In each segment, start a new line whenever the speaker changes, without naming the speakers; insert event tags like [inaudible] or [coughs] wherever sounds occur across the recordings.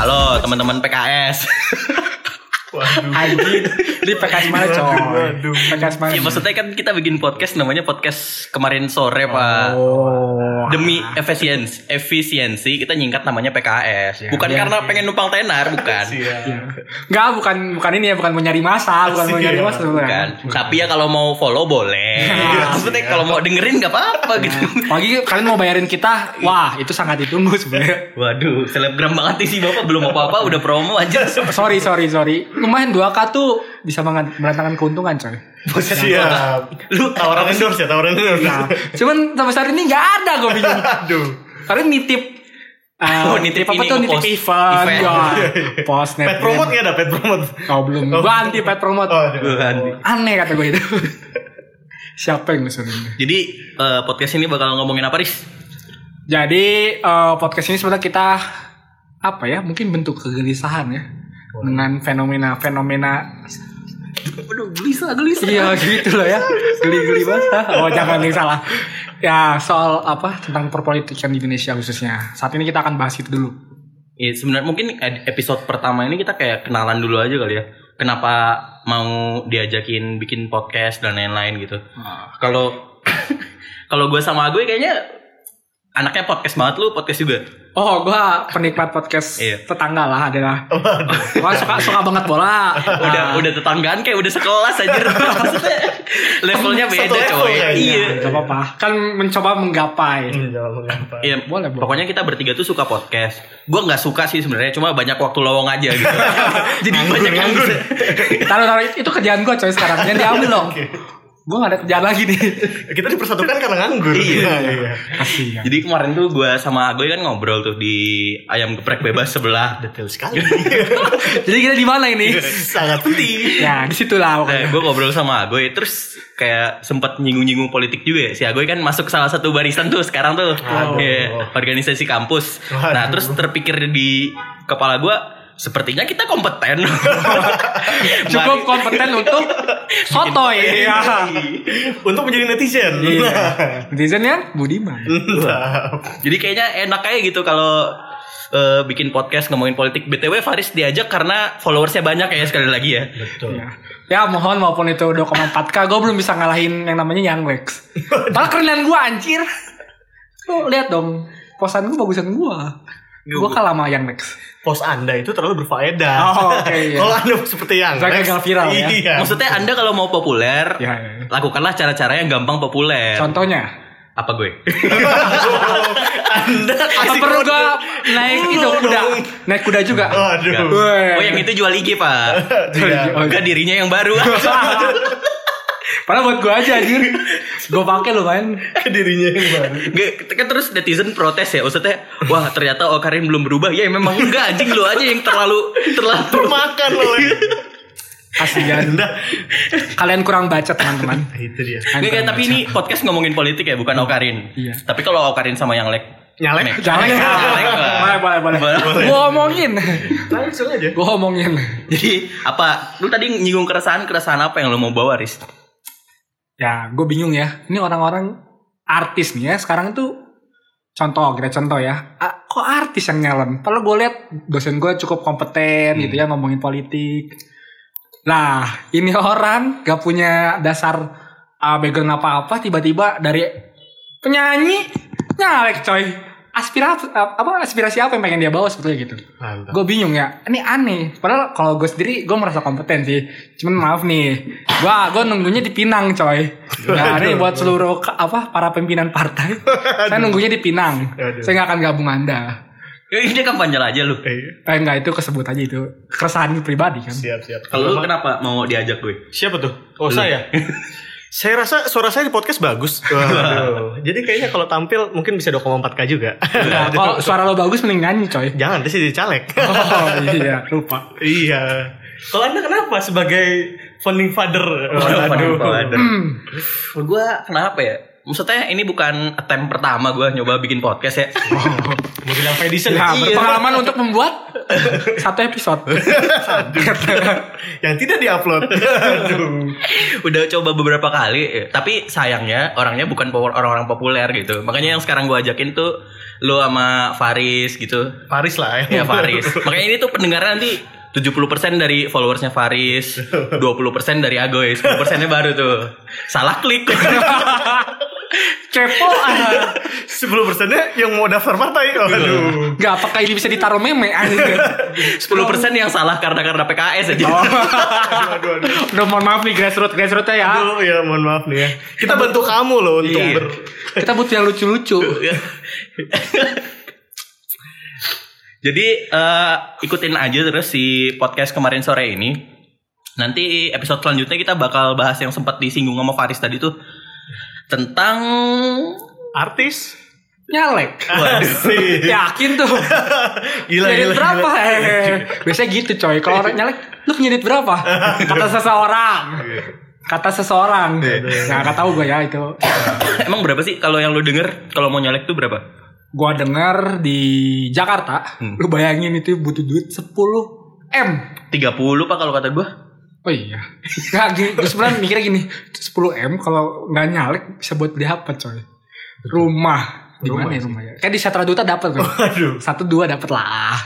Halo teman-teman PKS.
Waduh.
Anjing, di PKS mana coy?
Waduh.
PKS mana?
ya [laughs] maksudnya kan kita bikin podcast namanya podcast kemarin sore pak.
Oh.
Demi efisiensi, efisiensi kita nyingkat namanya PKS. bukan
iya,
karena pengen numpang tenar,
Kan?
bukan.
Siap.
Enggak, bukan bukan ini ya, bukan mau nyari masa, bukan mau
Iya,
nyari masa
Bukan.
sebenarnya.
Tapi ya kalau mau follow boleh. maksudnya kalau mau dengerin nggak apa-apa gitu.
Apalagi kalian mau bayarin kita, wah itu sangat ditunggu sebenarnya.
Waduh, selebgram banget nih si bapak belum apa-apa udah promo aja.
Sorry, sorry, sorry. Lumayan 2K tuh bisa mengan- mendatangkan keuntungan coy.
Siap.
Lu
Tawaran endorse ya, tawaran endorse.
Nah, cuman sampai saat ini nggak ada gue bingung.
Aduh.
Kalian nitip eh,
Oh, nitip
apa
ini,
tuh nitip
ngepost
event,
event.
ya.
[laughs]
Post net.
Pet promote nggak ada pet promote.
Oh belum.
Oh.
Gua anti pet promote.
Oh, aduh.
Bukan.
Aneh kata gue itu. [laughs] Siapa yang ngusulin?
Jadi eh, podcast ini bakal ngomongin apa, Riz?
Jadi eh, podcast ini sebenarnya kita apa ya? Mungkin bentuk kegelisahan ya dengan fenomena-fenomena
Aduh, gelisah, gelisah.
iya gitu loh ya geli-geli basah oh jangan yang salah ya soal apa tentang perpolitikan di Indonesia khususnya saat ini kita akan bahas itu dulu
Ya, sebenarnya mungkin ed- episode pertama ini kita kayak kenalan dulu aja kali ya. Kenapa mau diajakin bikin podcast dan lain-lain gitu. Kalau [coughs] kalau gue sama gue kayaknya anaknya podcast banget lu, podcast juga.
oh gua penikmat podcast
Iya. Oh.
tetangga lah adalah gua suka suka banget bola Ah,
Udah
Ah.
udah tetanggaan kayak udah sekelas aja.
[laughs]
Maksudnya levelnya beda
Satu level
coy.
kayaknya.
Iya.
Gak apa-apa kan mencoba menggapai
Ini jangan mengapa.
Iya,
Boleh, boleh.
Pokoknya kita bertiga tuh suka podcast. Gue nggak suka sih sebenarnya, cuma banyak waktu lowong aja
[laughs]
gitu. Jadi
Nah,
banyak yang bisa.
taruh taruh itu kerjaan gua coy sekarang jangan diambil dong gua gak ada kerjaan lagi nih
Kita dipersatukan karena nganggur.
Iya.
Nah, iya.
kasihan
Jadi kemarin tuh gue sama Agoy kan ngobrol tuh di ayam geprek bebas sebelah.
Detail sekali.
jadi kita di mana ini
[laughs] Sangat penting.
ya
Nah,
disitulah pokoknya
Iya.
gue ngobrol sama Agoy terus kayak sempat nyinggung-nyinggung politik juga ya. Si Agoy kan masuk salah satu barisan tuh sekarang tuh
Waduh.
Iya, organisasi kampus. Nah
Waduh.
terus terpikir di kepala gue sepertinya kita kompeten.
[laughs]
[laughs] Mari-
cukup
Iya.
kompeten untuk sotoy
Iya.
ya
Untuk menjadi netizen.
iya
Nah.
netizen ya Budiman
Mantap.
Jadi kayaknya enak aja gitu kalau eh, bikin podcast ngomongin politik. BTW Faris diajak karena followersnya banyak ya sekali lagi ya.
Betul.
ya. ya mohon maupun itu 2,4k gue belum bisa ngalahin yang namanya Yang Lex malah kerenan gue anjir lu lihat dong posan gue bagusan gue gue kalah sama Yang Lex
Pos Anda itu terlalu berfaedah.
Oh, oke, iya.
Kalau Anda seperti yang
Saya gagal viral, ya.
Iya.
Maksudnya Anda kalau mau populer,
Ya, ya, ya.
lakukanlah cara-cara yang gampang populer.
contohnya
Apa gue?
[laughs] Anda
apa
kasih
perlu
kode.
gue naik itu
Belum
kuda
dong.
naik kuda juga
Aduh.
Weh.
Oh yang itu jual IG pak.
Tidak.
[laughs] Oh,
Enggak dirinya yang
[laughs]
baru.
Padahal buat gue aja [laughs] anjir Gue pake lumayan
Ke [laughs] dirinya yang baru.
Nggak, kan terus netizen protes ya maksudnya wah ternyata oh Karin belum berubah ya memang enggak anjing lu aja yang terlalu
Kan
terlalu
Termakan oleh
Kasihan
Anda.
Kalian kurang baca teman-teman
Nah, Itu dia.
Nggak, nggak, tapi ini podcast ngomongin politik ya bukan Okarin
Iya.
tapi kalau Okarin sama yang lek
[laughs]
Nyalek.
Jangan ya.
[laughs] Boleh,
Boleh, boleh, boleh.
Boleh.
Gue omongin.
Langsung aja.
Gue omongin.
Jadi apa? Lu tadi nyinggung keresahan keresahan apa yang lu mau bawa, Riz?
Ya, gue bingung ya. Ini orang-orang artis nih ya. Sekarang tuh contoh, kita contoh ya. A- Kok artis yang nyalon? Padahal gue lihat dosen gue cukup kompeten gitu ya ngomongin politik. Nah, ini [laughs] orang gak punya dasar uh, background apa-apa tiba-tiba dari penyanyi nyalek coy. Aspirasi apa aspirasi apa yang pengen dia bawa sebetulnya gitu.
Mantap.
Gue bingung ya, ini aneh. Padahal kalau gue sendiri, gue merasa kompeten sih. Cuman maaf nih, gue gue nunggunya di Pinang coy. Nah ini buat seluruh ke- apa para pimpinan
[laughs]
partai, saya nunggunya di Pinang.
Aduh.
Saya nggak akan gabung anda.
Ya, Ini kampanye aja lu.
Eh,
Eh enggak itu kesebut aja itu keresahan pribadi kan.
siap siap.
Kalau lu
Kalau
kenapa mau diajak gue?
siapa tuh? Oh [laughs] saya. saya rasa suara saya di podcast bagus. Waduh. Jadi kayaknya kalau tampil mungkin bisa 2,4k juga. [laughs]
Nah, kalau suara lo bagus mending nyanyi coy.
Jangan, dia jadi caleg.
Oh iya lupa.
iya. Kalau anda kenapa sebagai founding father?
Waduh, waduh.
Hmm.
Gue kenapa ya? Maksudnya ini bukan attempt pertama gue nyoba bikin podcast ya. [laughs]
Mau bilang Fedison
Nah,
Iya.
berpengalaman untuk membuat satu
[laughs]
episode.
yang tidak diupload. Aduh.
Udah coba beberapa eh, kali, ya. tapi sayangnya orangnya bukan power- orang-orang populer gitu. Makanya yang sekarang gue ajakin tuh lu sama Faris gitu.
Paris lah
Ya Faris. Makanya ini tuh pendengarnya nanti 70% dari followersnya Faris, 20% dari Agoy, 10%-nya baru tuh. Salah klik. [laughs]
Kepo ah.
Sebelum persennya yang mau daftar partai. Oh, Waduh.
Gak apakah ini bisa ditaruh meme
[laughs]
anjing. Oh.
10% yang salah karena karena PKS aja.
Aduh, aduh, aduh.
[laughs] Udah mohon maaf nih grassroots grassrootsnya ya.
Aduh, ya mohon maaf nih ya. Kita bantu kamu loh untuk
Iya.
ber...
Kita butuh yang lucu-lucu.
Jadi eh, ikutin aja terus si podcast kemarin sore ini. Nanti episode selanjutnya kita bakal bahas yang sempat disinggung sama Faris tadi tuh tentang
artis.
Nyalek.
Waduh.
Asik.
Ya.
Yakin tuh.
Gila,
Nyedit
gila,
berapa?
gila.
[laughs]
Eh, [laughs] Biasanya gitu coy. Kalau orang nyalek, lu nyedit berapa? Kata seseorang. Kata seseorang. Nah, gak tahu gue ya itu.
[laughs] Emang berapa sih kalau yang lu denger kalau mau nyalek tuh berapa?
Gua dengar di Jakarta,
Hmm.
lu bayangin itu butuh duit 10 M.
30 Pak kalau kata gua.
Oh iya. Nggak gini, gue sebenarnya mikirnya gini, 10 M kalau nggak nyalek bisa buat beli apa coy? Rumah. Di
Rumah
mana ya
sih.
rumah Oh. ya? Kayak di Satra Duta dapat tuh.
Aduh.
Satu dua dapat lah.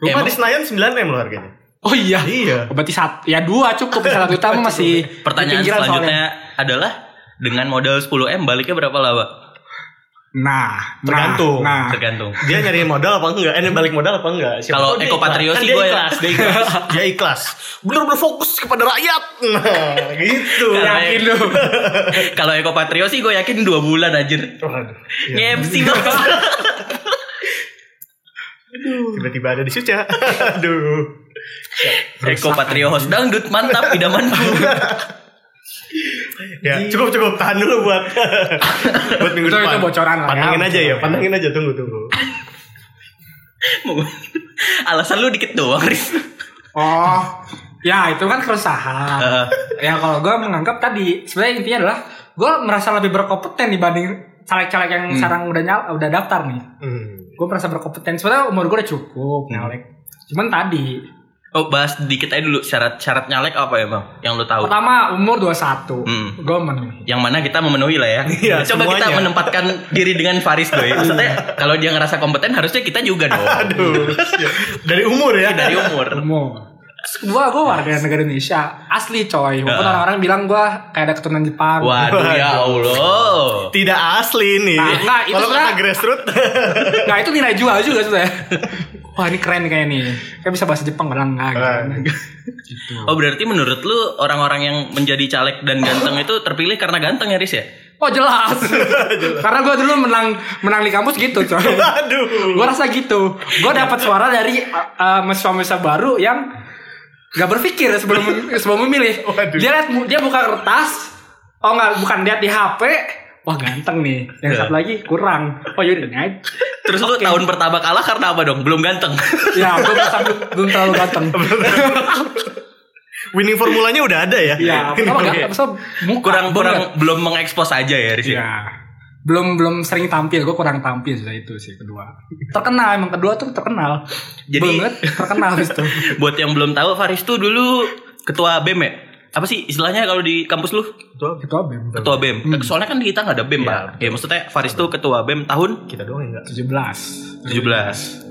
Rumah
Emang-
di Senayan 9 M loh harganya.
Oh iya.
Iya.
Berarti satu, ya dua cukup di
[laughs]
Satra Duta mah masih di
Pertanyaan
pinggiran
selanjutnya adalah dengan modal 10M baliknya berapa laba?
soalnya. Nah, nah,
Tergantung.
Nah,
Tergantung. [laughs]
Dia nyari modal apa enggak? Eh, balik modal apa enggak? Siapa
Kalau
tahu dia
Eko
ikhlas.
Patrio
Kan
sih
dia
gua ya.
ikhlas, dia ikhlas. [laughs] dia ikhlas. Bener-bener fokus kepada rakyat. Nah, gitu.
yakin lu.
[laughs]
Kalau Eko Patrio sih gue yakin dua bulan anjir.
Waduh. Iya.
Nge-MC banget.
Tiba-tiba ada di Suca. [laughs] Aduh.
Eko Patrio host dangdut mantap idamanku.
Ya, cukup cukup tahan dulu
[laughs]
buat buat minggu
Iya. Itu-
depan.
itu bocoran lah ya.
Pantengin aja ya, pantengin aja tunggu tunggu.
Mau- [laughs] Alasan lu dikit doang,
[laughs]
Riz.
Oh. Ya, itu kan keresahan.
Heeh.
ya kalau gue menganggap tadi sebenarnya intinya adalah gue merasa lebih berkompeten dibanding caleg-caleg yang
Hmm.
sekarang udah nyal udah daftar nih
Hmm.
gue merasa berkompeten sebenarnya umur gue udah cukup
Hmm.
nyalek cuman tadi
oh, bahas dikit aja dulu syarat-syarat nyalek apa ya, Bang? Yang lu tahu.
pertama umur 21
Hmm.
gue memenuhi
Yang mana kita memenuhi lah ya.
Iya,
Coba kita
semuanya. Iya.
menempatkan diri dengan Faris doi. Maksudnya kalau dia ngerasa kompeten harusnya kita juga dong.
[laughs] Aduh.
Iya.
Dari umur ya.
Dari umur.
umur Terus kedua gue warga negara Indonesia asli coy walaupun
Eh.
orang-orang bilang gue kayak ada keturunan Jepang
Waduh ya Allah.
Tidak asli nih.
Nah, enggak, itu
Kalau kata
sebenarnya-
grassroots.
nah itu nilai jual juga sebenarnya wah ini keren nih kayaknya nih kayak bisa bahasa Jepang padahal enggak gitu. gitu
Hmm.
Oh berarti menurut lu orang-orang yang menjadi caleg dan ganteng itu terpilih karena ganteng ya Riz ya?
Oh jelas. Karena gue dulu menang menang di kampus gitu
[laughs]
coy.
Aduh.
Gue rasa gitu. Gue dapat suara dari uh, uh, mahasiswa-mahasiswa baru yang gak berpikir sebelum sebelum memilih.
Waduh.
Dia lihat mu- dia buka kertas. Oh nggak bukan lihat di HP. Wah ganteng nih. Yang satu lagi kurang. Oh yaudah ini aja.
Terus lu tahun pertama kalah karena apa dong? Belum
[laughs]
ganteng.
Ya gue merasa belum, belum terlalu ganteng.
Winning formulanya udah ada ya.
Ya pertama gak pertama muka
Kurang
bener.
kurang belum mengekspos aja ya Riz ya?
Iya. Belum belum sering tampil, gue kurang tampil sudah itu sih kedua. Terkenal emang kedua tuh terkenal.
Jadi-
banget terkenal habis itu.
Buat yang belum tahu Faris tuh dulu ketua BEM ya? Apa sih istilahnya kalau di kampus lu?
Ketua BEM
Ketua BEM. Soalnya kan kita nggak ada BEM, Pak. Ya maksudnya Faris tuh ketua BEM tahun
Kita doang yang enggak.
17
17.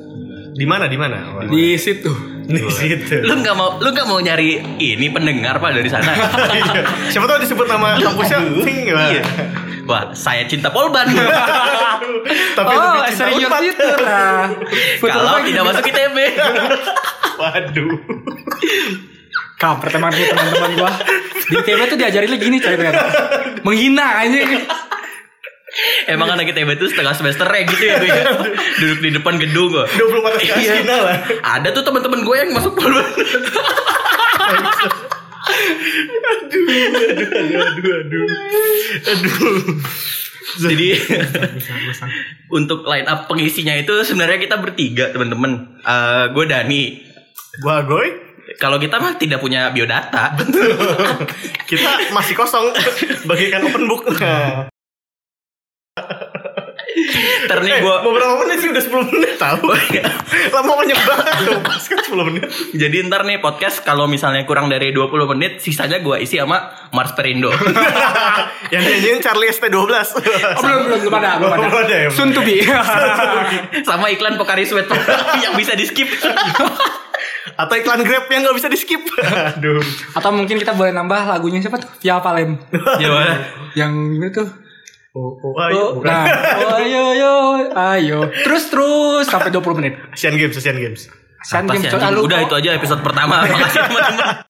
Di mana di mana?
di situ.
Di
[laughs]
situ.
Lu nggak mau lu nggak mau nyari ini pendengar Pak dari sana.
Iya. Siapa tahu disebut nama kampusnya Ting gimana?
Iya. Wah, saya cinta Polban.
Tapi
oh,
lebih cinta
serius
Unpad.
itu nah. Futur
Kalau
lagi.
tidak masuk ITB.
[laughs] Waduh.
Kampret emang nih teman-teman gua. Di TV tuh diajarin gini coy ternyata. Menghina anjing.
Emang anak ITB itu setengah semester ya gitu ya gue. Duduk di depan gedung gue.
24 kali Cina lah.
Ada tuh teman-teman gue yang masuk Polban.
Aduh, aduh, aduh. Aduh.
Jadi untuk line up pengisinya itu sebenarnya kita bertiga teman-teman. Eh, gue Dani.
Gua goy.
Kalau kita mah tidak punya biodata.
[laughs] Nah. Kita masih kosong bagikan open book.
Ntar nih gue
Eh, mau berapa menit sih udah 10 menit tahu. Lama banyak banget dong, pas kan 10 menit. [laughs]
Jadi ntar nih podcast kalau misalnya kurang dari 20 menit sisanya gua isi sama Mars Perindo.
Yang nyanyiin Charlie ST12. [laughs]
Oh, belum, belum, belum ada, belum ada.
Belum ada ya,
Soon to be.
sama iklan Pokari Sweat [laughs] yang bisa di skip.
Atau iklan Grab yang gak bisa di skip. [laughs] Aduh.
Atau mungkin kita boleh nambah lagunya siapa tuh? Via Palem.
ya mana?
Yang gimana tuh?
Oh, oh,
iya,
Oh,
[laughs]
ayo,
nah, oh, ayo, ayo, ayo. Terus, terus. Sampai 20 menit.
Asian Games, Asian Games.
Asian
Apa
Games.
sih,
coy. Ah,
ya, anjing?
lu
Udah
kok-
itu aja episode pertama. [laughs] Makasih teman-teman.